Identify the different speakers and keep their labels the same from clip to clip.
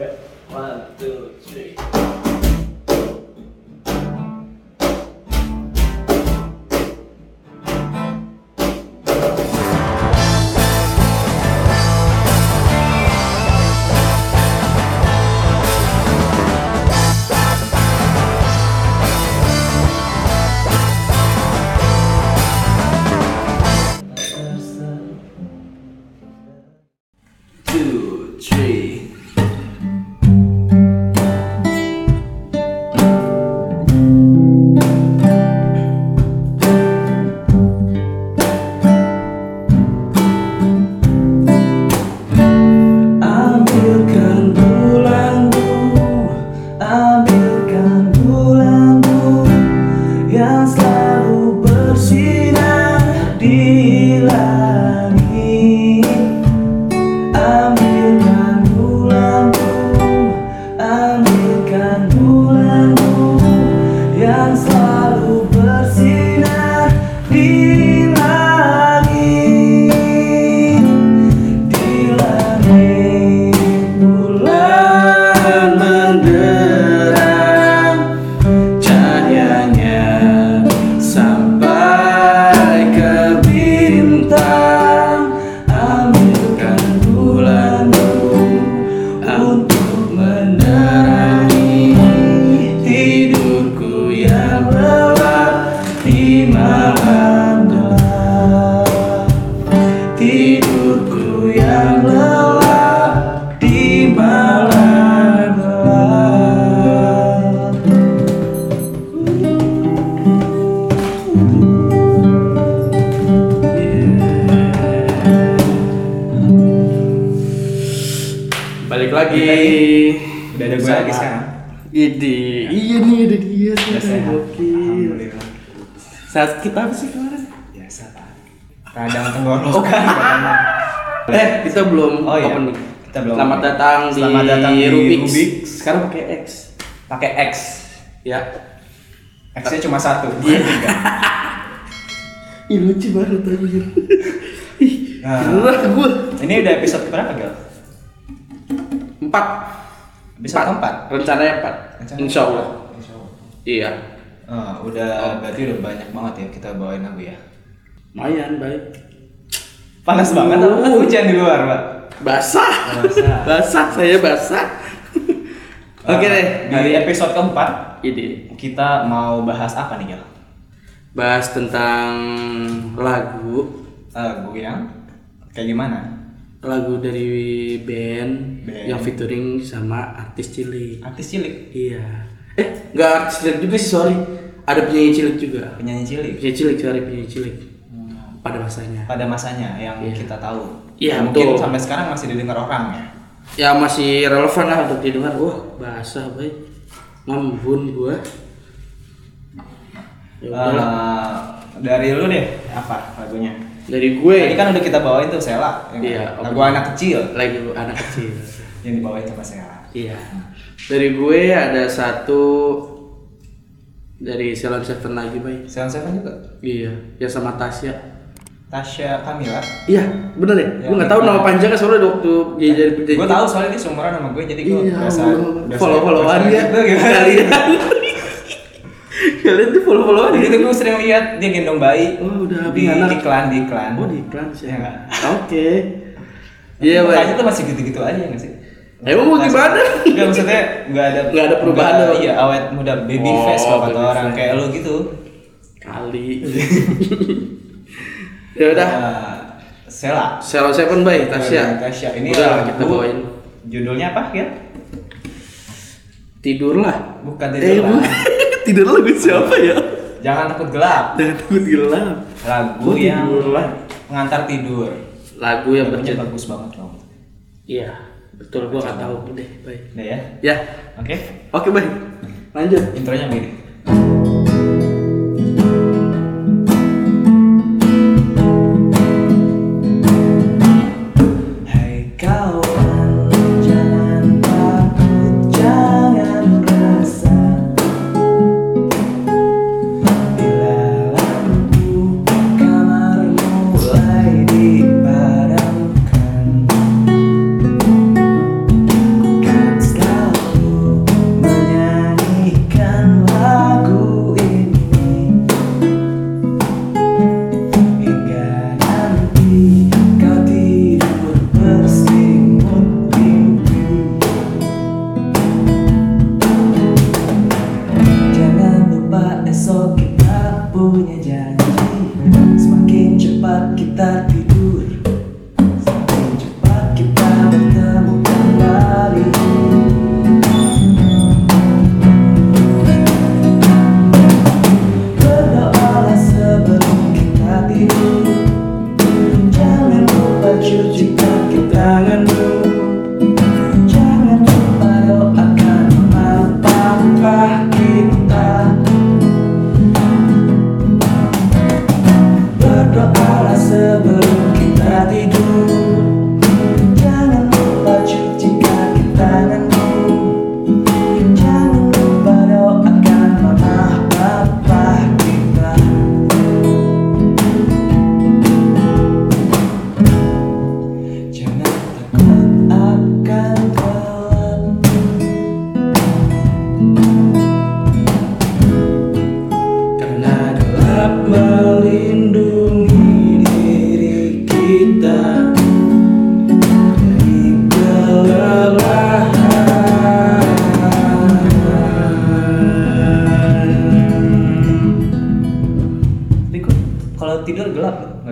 Speaker 1: Okay. One, two, three. Two, three. Ambilkan bulanmu, ambilkan bulanmu yang selalu bersinar di langit. Ambilkan bulanmu, ambilkan bulanmu yang selalu bersinar di langit, di langit bulan menderang cahayanya sampai ke bintang ambilkan bulanmu untuk menerangi tidurku yang lelap di malam gelap tidurku yang lelap di malam gelap
Speaker 2: Balik lagi.
Speaker 3: Udah ada gue lagi
Speaker 2: Bersama-
Speaker 3: sekarang.
Speaker 2: Ide. Iya nih ada dia
Speaker 3: Udah sehat. Alhamdulillah.
Speaker 2: Saat kita apa sih kemarin?
Speaker 3: Biasa Pak. Radang tenggorokan. katanya.
Speaker 2: Eh, kita belum
Speaker 3: Oh, iya.
Speaker 2: open mic.
Speaker 3: Kita belum
Speaker 2: Selamat
Speaker 3: open mic.
Speaker 2: datang
Speaker 3: Selamat
Speaker 2: di,
Speaker 3: datang di
Speaker 2: Rubix.
Speaker 3: Rubix.
Speaker 2: Sekarang pakai X.
Speaker 3: Pakai X.
Speaker 2: Ya. Iya.
Speaker 3: X-nya cuma satu. bukan tiga.
Speaker 2: Ih lucu banget anjir. Ih,
Speaker 3: Nah.
Speaker 2: gerah gue.
Speaker 3: Ini udah episode berapa, Gal?
Speaker 2: Empat.
Speaker 3: Episode keempat.
Speaker 2: Rencananya empat.
Speaker 3: Rencana-
Speaker 2: Insya Allah.
Speaker 3: Insya Allah.
Speaker 2: Iya. Oh.
Speaker 3: Eh, udah berarti udah banyak banget ya kita bawain lagu ya.
Speaker 2: Lumayan baik.
Speaker 3: Panas banget apa kan hujan di luar, Pak?
Speaker 2: Basah.
Speaker 3: Basah.
Speaker 2: basah saya basah. Oke
Speaker 3: Eh,
Speaker 2: deh.
Speaker 3: Di episode keempat
Speaker 2: Ide.
Speaker 3: kita mau bahas apa nih, Gal?
Speaker 2: bahas tentang lagu
Speaker 3: Lagu yang Eh, kayak gimana?
Speaker 2: lagu dari band,
Speaker 3: Band.
Speaker 2: yang featuring sama artis cilik
Speaker 3: Artis cilik,
Speaker 2: iya eh nggak artis cilik juga sih sorry ada penyanyi cilik juga
Speaker 3: penyanyi cilik.
Speaker 2: penyanyi cilik sorry penyanyi cilik
Speaker 3: Hmm.
Speaker 2: pada masanya
Speaker 3: pada masanya yang
Speaker 2: Iya.
Speaker 3: kita tahu.
Speaker 2: Iya,
Speaker 3: mungkin
Speaker 2: betul.
Speaker 3: sampai sekarang masih didengar orang ya.
Speaker 2: ya masih relevan lah untuk didengar wah bahasa baik ngembun gua ya udahlah
Speaker 3: Eh, dari lu deh apa lagunya?
Speaker 2: dari gue
Speaker 3: Tadi kan udah kita bawain tuh Sela, yang
Speaker 2: Iya,
Speaker 3: lagu
Speaker 2: opening.
Speaker 3: anak kecil
Speaker 2: lagi anak kecil
Speaker 3: yang dibawain sama Sela.
Speaker 2: Iya. Dari gue ada satu dari Salon Seven lagi, Bay.
Speaker 3: Sela Seven juga.
Speaker 2: Iya, ya sama Tasya.
Speaker 3: Tasya Kamila.
Speaker 2: Iya, bener ya?
Speaker 3: Ya,
Speaker 2: gue nggak tahu
Speaker 3: bener.
Speaker 2: nama panjangnya soalnya waktu dia jadi penyanyi.
Speaker 3: Gue tahu soalnya dia seumuran sama gue jadi gue
Speaker 2: Iya,
Speaker 3: biasa, biasa-
Speaker 2: follow-followan
Speaker 3: biasa
Speaker 2: ya.
Speaker 3: gitu, gimana?
Speaker 2: Kalian. Kalian tuh follow-followan
Speaker 3: Jadi
Speaker 2: ya?
Speaker 3: tuh gue sering lihat dia gendong bayi
Speaker 2: Oh, udah
Speaker 3: di
Speaker 2: punya anak.
Speaker 3: iklan di iklan.
Speaker 2: Oh, di iklan sih.
Speaker 3: Iya, nggak?
Speaker 2: Oke. Iya, Bay.
Speaker 3: Mukanya tuh masih gitu-gitu aja nggak sih?
Speaker 2: Emang mau gimana?
Speaker 3: Enggak maksudnya enggak ada
Speaker 2: Nggak ada perubahan
Speaker 3: nggak-
Speaker 2: dong.
Speaker 3: Iya, awet muda baby
Speaker 2: Oh,
Speaker 3: face kalau kata
Speaker 2: baby
Speaker 3: orang
Speaker 2: face.
Speaker 3: kayak lu gitu.
Speaker 2: Kali. ya udah.
Speaker 3: Nah, Sela.
Speaker 2: Salon Seven, Bay, Tasya.
Speaker 3: Iya, Tasya. Ini
Speaker 2: udah lah
Speaker 3: lagu-
Speaker 2: kita bawain.
Speaker 3: Judulnya apa, ya?
Speaker 2: Tidurlah.
Speaker 3: Bukan
Speaker 2: Eh,
Speaker 3: tidur lah.
Speaker 2: tidurlah lagu siapa ya?
Speaker 3: Jangan takut gelap.
Speaker 2: Jangan takut gelap.
Speaker 3: Lagu
Speaker 2: Oh,
Speaker 3: yang
Speaker 2: Tidurlah.
Speaker 3: pengantar tidur.
Speaker 2: Lagu yang
Speaker 3: Lagunya
Speaker 2: berjudul.
Speaker 3: bagus banget loh.
Speaker 2: Iya, betul. Gua nggak tahu deh. Baik.
Speaker 3: Udah ya.
Speaker 2: Ya,
Speaker 3: Oke.
Speaker 2: oke baik. Lanjut.
Speaker 3: Intronya begini. Hai kawan, jangan takut, jangan resah Bila lampu kamar mulai dipadamkan Kan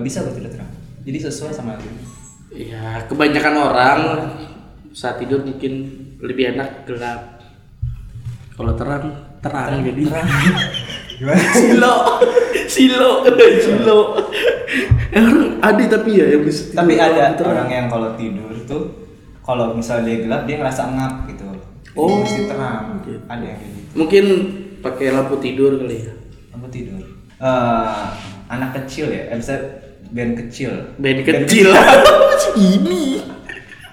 Speaker 3: bisa loh tidak terang. Jadi sesuai sama lagunya.
Speaker 2: Ya, kebanyakan orang saat tidur mungkin lebih enak gelap. Kalau terang, terang, jadi.
Speaker 3: Gimana?
Speaker 2: Silo, silo, silo. Eh, Orang ada tapi ya yang bisa tidur
Speaker 3: Tapi
Speaker 2: kalau
Speaker 3: ada
Speaker 2: terang.
Speaker 3: orang yang kalau tidur tuh kalau misalnya dia gelap dia ngerasa ngap gitu. Jadi
Speaker 2: Oh.
Speaker 3: mesti terang. Ada yang kayak gitu.
Speaker 2: Mungkin pakai lampu tidur kali ya.
Speaker 3: Aku tidur. Eh, anak kecil ya, eh, bisa band kecil.
Speaker 2: Band kecil. Ini.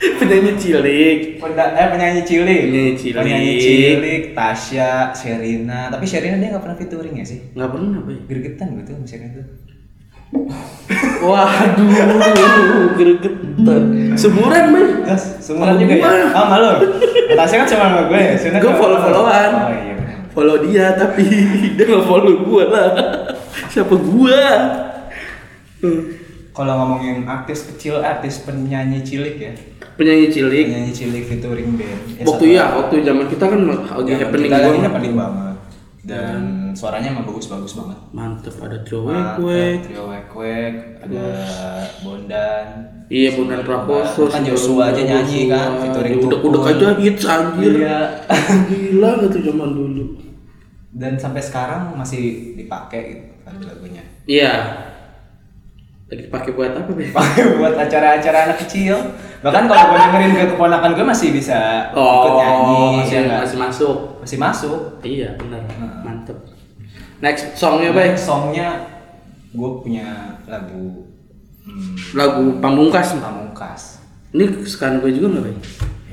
Speaker 2: Penyanyi cilik.
Speaker 3: Penda- eh penyanyi cilik.
Speaker 2: Penyanyi cilik.
Speaker 3: Penyanyi cilik, Tasya, Sherina. Tapi Sherina dia nggak pernah featuring ya sih?
Speaker 2: Nggak pernah, Bay.
Speaker 3: Gergetan gitu sama Sherina tuh.
Speaker 2: Waduh, gregetan. Sebulan, Bay.
Speaker 3: Terus semua juga ya?
Speaker 2: Sama gua.
Speaker 3: Ah malu. Tasya kan cuma sama gue. Sherina
Speaker 2: Gue
Speaker 3: cuma-
Speaker 2: follow-followan.
Speaker 3: Oh iya. benar.
Speaker 2: Follow dia tapi dia nggak follow gue lah. Siapa gue?
Speaker 3: Kalau ngomongin artis kecil, artis penyanyi cilik ya.
Speaker 2: Penyanyi cilik.
Speaker 3: Penyanyi cilik featuring
Speaker 2: waktu
Speaker 3: band. Iya, satu-
Speaker 2: ya, waktu zaman kita kan lagi
Speaker 3: Zaman
Speaker 2: happening
Speaker 3: kita lagi
Speaker 2: banget. Hmm.
Speaker 3: happening banget. Dan suaranya emang bagus-bagus banget.
Speaker 2: Mantep ada cowok
Speaker 3: Mantap,
Speaker 2: gue.
Speaker 3: Trio Wek-Wek, ada Bondan.
Speaker 2: Iya, Bondan Prakoso.
Speaker 3: Kan Joshua aja nyanyi kan, featuring
Speaker 2: Ya Udah udah
Speaker 3: Tukul.
Speaker 2: aja hits anjir.
Speaker 3: Iya.
Speaker 2: Gila gitu zaman dulu.
Speaker 3: Dan sampai sekarang masih dipakai gitu kan lagunya.
Speaker 2: Iya. Lagi pakai buat apa, Bay?
Speaker 3: Dipakai buat acara-acara anak kecil. Bahkan kalau gue dengerin ke keponakan gue masih bisa ikut nyanyi,
Speaker 2: Oh,
Speaker 3: ya
Speaker 2: masih,
Speaker 3: nggak?
Speaker 2: masih masuk.
Speaker 3: masih masuk.
Speaker 2: Iya, benar.
Speaker 3: Nah.
Speaker 2: Mantep. Next songnya, Bay.
Speaker 3: Songnya gue punya lagu hmm,
Speaker 2: Lagu Pamungkas.
Speaker 3: Pamungkas.
Speaker 2: Ini kesukaan gue juga nggak, Bay?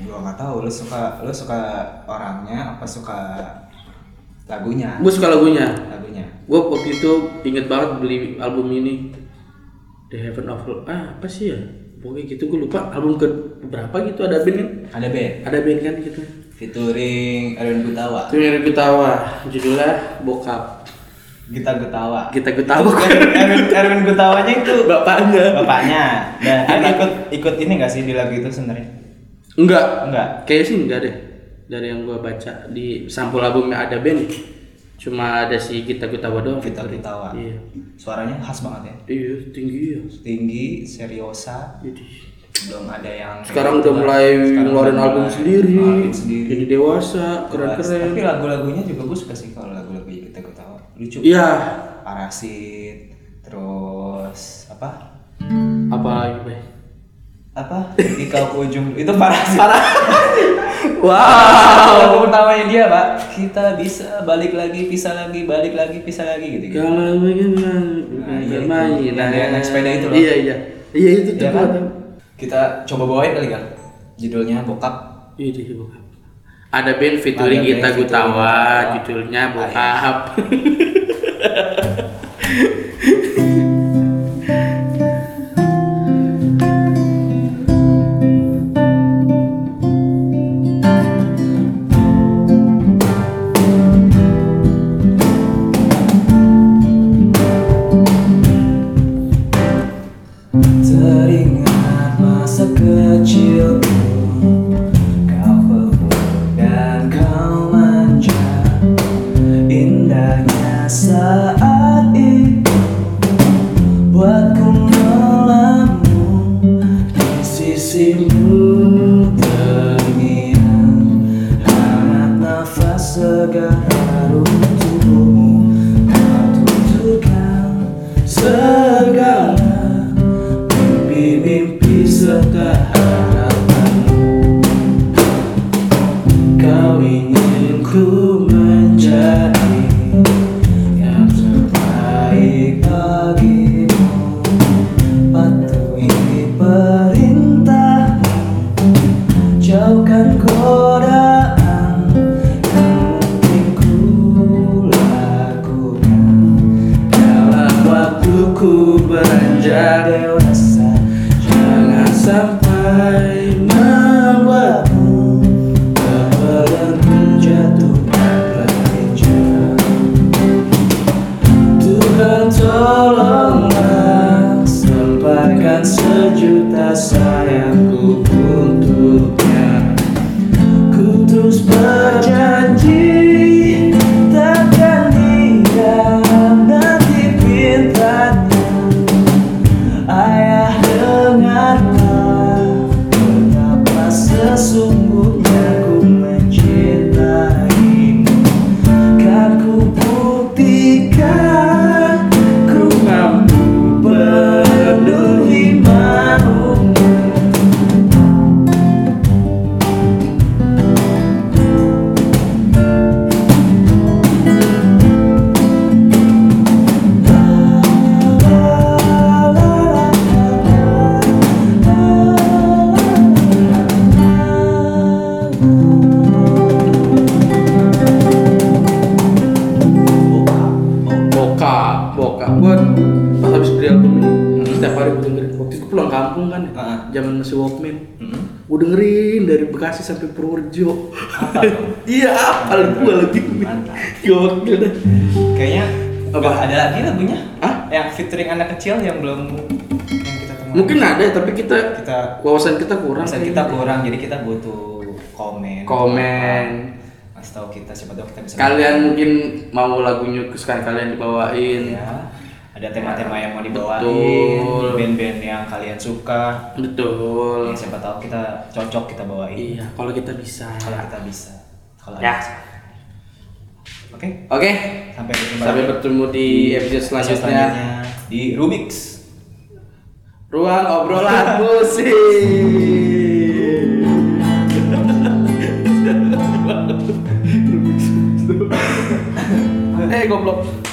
Speaker 3: gua nggak tahu lu suka lu suka orangnya apa suka lagunya
Speaker 2: Gue suka lagunya.
Speaker 3: lagunya
Speaker 2: Gue waktu itu inget banget beli album ini. The Heaven of Love. Ah, apa sih ya? Pokoknya gitu gue lupa album ke berapa gitu ada band kan?
Speaker 3: ada band
Speaker 2: Ada band kan gitu.
Speaker 3: featuring Erwin Gutawa
Speaker 2: Itu yang Gutawa, judulnya Bokap.
Speaker 3: Gita Gutawa
Speaker 2: Kita Gutawa
Speaker 3: Erwin Erwin- Erwin Gutawanya itu
Speaker 2: bapaknya.
Speaker 3: bapaknya dan dia ikut ikut ini nggak sih di lagu itu sebenarnya
Speaker 2: Enggak,
Speaker 3: enggak
Speaker 2: Kayaknya sih enggak deh. Dari yang gua baca di sampul albumnya ada band. Cuma ada si Gita Gutawa doang.
Speaker 3: Gita Gutawa
Speaker 2: Iya.
Speaker 3: suaranya khas banget ya
Speaker 2: Iya, tinggi ya.
Speaker 3: tinggi seriosa
Speaker 2: Jadi
Speaker 3: belum ada yang
Speaker 2: sekarang udah mulai
Speaker 3: Sekarang
Speaker 2: ngeluarin
Speaker 3: udah
Speaker 2: album
Speaker 3: mulai
Speaker 2: sendiri,
Speaker 3: ngeluarin sendiri.
Speaker 2: jadi dewasa, keren-keren.
Speaker 3: tapi lagu-lagunya juga gue suka sih kalau lagu-lagu kita gue tahu lucu
Speaker 2: Iya.
Speaker 3: parasit terus apa
Speaker 2: Apa lagi, Bay?
Speaker 3: apa ketika aku ujung itu parasit
Speaker 2: Wow.
Speaker 3: lagu pertamanya dia pak kita bisa balik lagi pisah lagi balik lagi pisah lagi gitu gitu
Speaker 2: Kalau bagaimana
Speaker 3: Nah, iya itu.
Speaker 2: bermain.
Speaker 3: Yang dia naik sepeda itu loh.
Speaker 2: Iya, iya. Iya itu tuh.
Speaker 3: Iya
Speaker 2: gua
Speaker 3: kan?
Speaker 2: tahu.
Speaker 3: kita coba bawain kali kan judulnya bokap
Speaker 2: Iya, dia bokap. Ada band featuring
Speaker 3: Ada band
Speaker 2: Gita
Speaker 3: featuring
Speaker 2: Gutawa, iya.
Speaker 3: Gitawa.
Speaker 2: judulnya
Speaker 3: Ah,
Speaker 2: Bokap.
Speaker 1: Teringat masa kecilku Kau peluk dan kau manja Indahnya saat itu Buatku melamun Di sisimu terngiang Hangat nafas segar harum tubuhmu Kau tunjukkan segala Mimpi-mimpi serta harapanmu Kau ingin ku menjadi Yang terbaik bagimu Patuhi perintahmu Jauhkan godaan Yang mungkin ku lakukan dalam waktuku beranjak dewasa Jangan sampai membuatmu Terbelenggu jatuh pada tinja Tuhan tolonglah Sempatkan sejuta sayangku untuknya Ku terus berjanji Takkan diam nanti pintanya
Speaker 2: Boka, boka. Gue pas habis beli album ini, setiap hari gue dengerin. Waktu itu pulang kampung kan,
Speaker 3: Heeh.
Speaker 2: zaman masih Walkman.
Speaker 3: Hmm.
Speaker 2: Gue dengerin dari Bekasi sampai Purworejo.
Speaker 3: Apa tuh?
Speaker 2: iya, apal gue lagi.
Speaker 3: Mantap.
Speaker 2: Gokil dah.
Speaker 3: Kayaknya
Speaker 2: Apa?
Speaker 3: nggak ada lagi lagunya?
Speaker 2: Hah?
Speaker 3: Yang featuring anak kecil yang belum yang kita temukan.
Speaker 2: Mungkin ada, tapi kita
Speaker 3: kita
Speaker 2: wawasan kita kurang.
Speaker 3: Masa
Speaker 2: kayaknya.
Speaker 3: kita kurang jadi kita butuh komen.
Speaker 2: Komen.
Speaker 3: Apa, Kasih tahu kita siapa tahu kita bisa.
Speaker 2: Kalian mungkin mau lagunya kesukaan kalian dibawain.
Speaker 3: Ya, ada tema-tema yang mau dibawain,
Speaker 2: Betul.
Speaker 3: band-band yang kalian suka.
Speaker 2: Betul.
Speaker 3: Ya, siapa tahu kita cocok kita bawain.
Speaker 2: Iya, kalau kita bisa.
Speaker 3: Kalau kita bisa. Kalau
Speaker 2: Ya.
Speaker 3: ada. Oke,
Speaker 2: Oke,
Speaker 3: sampai berjumpa
Speaker 2: sampai
Speaker 3: lagi.
Speaker 2: bertemu di
Speaker 3: Iya.
Speaker 2: episode selanjutnya.
Speaker 3: di Rubik's.
Speaker 2: Ruang obrolan musik. eh goblok.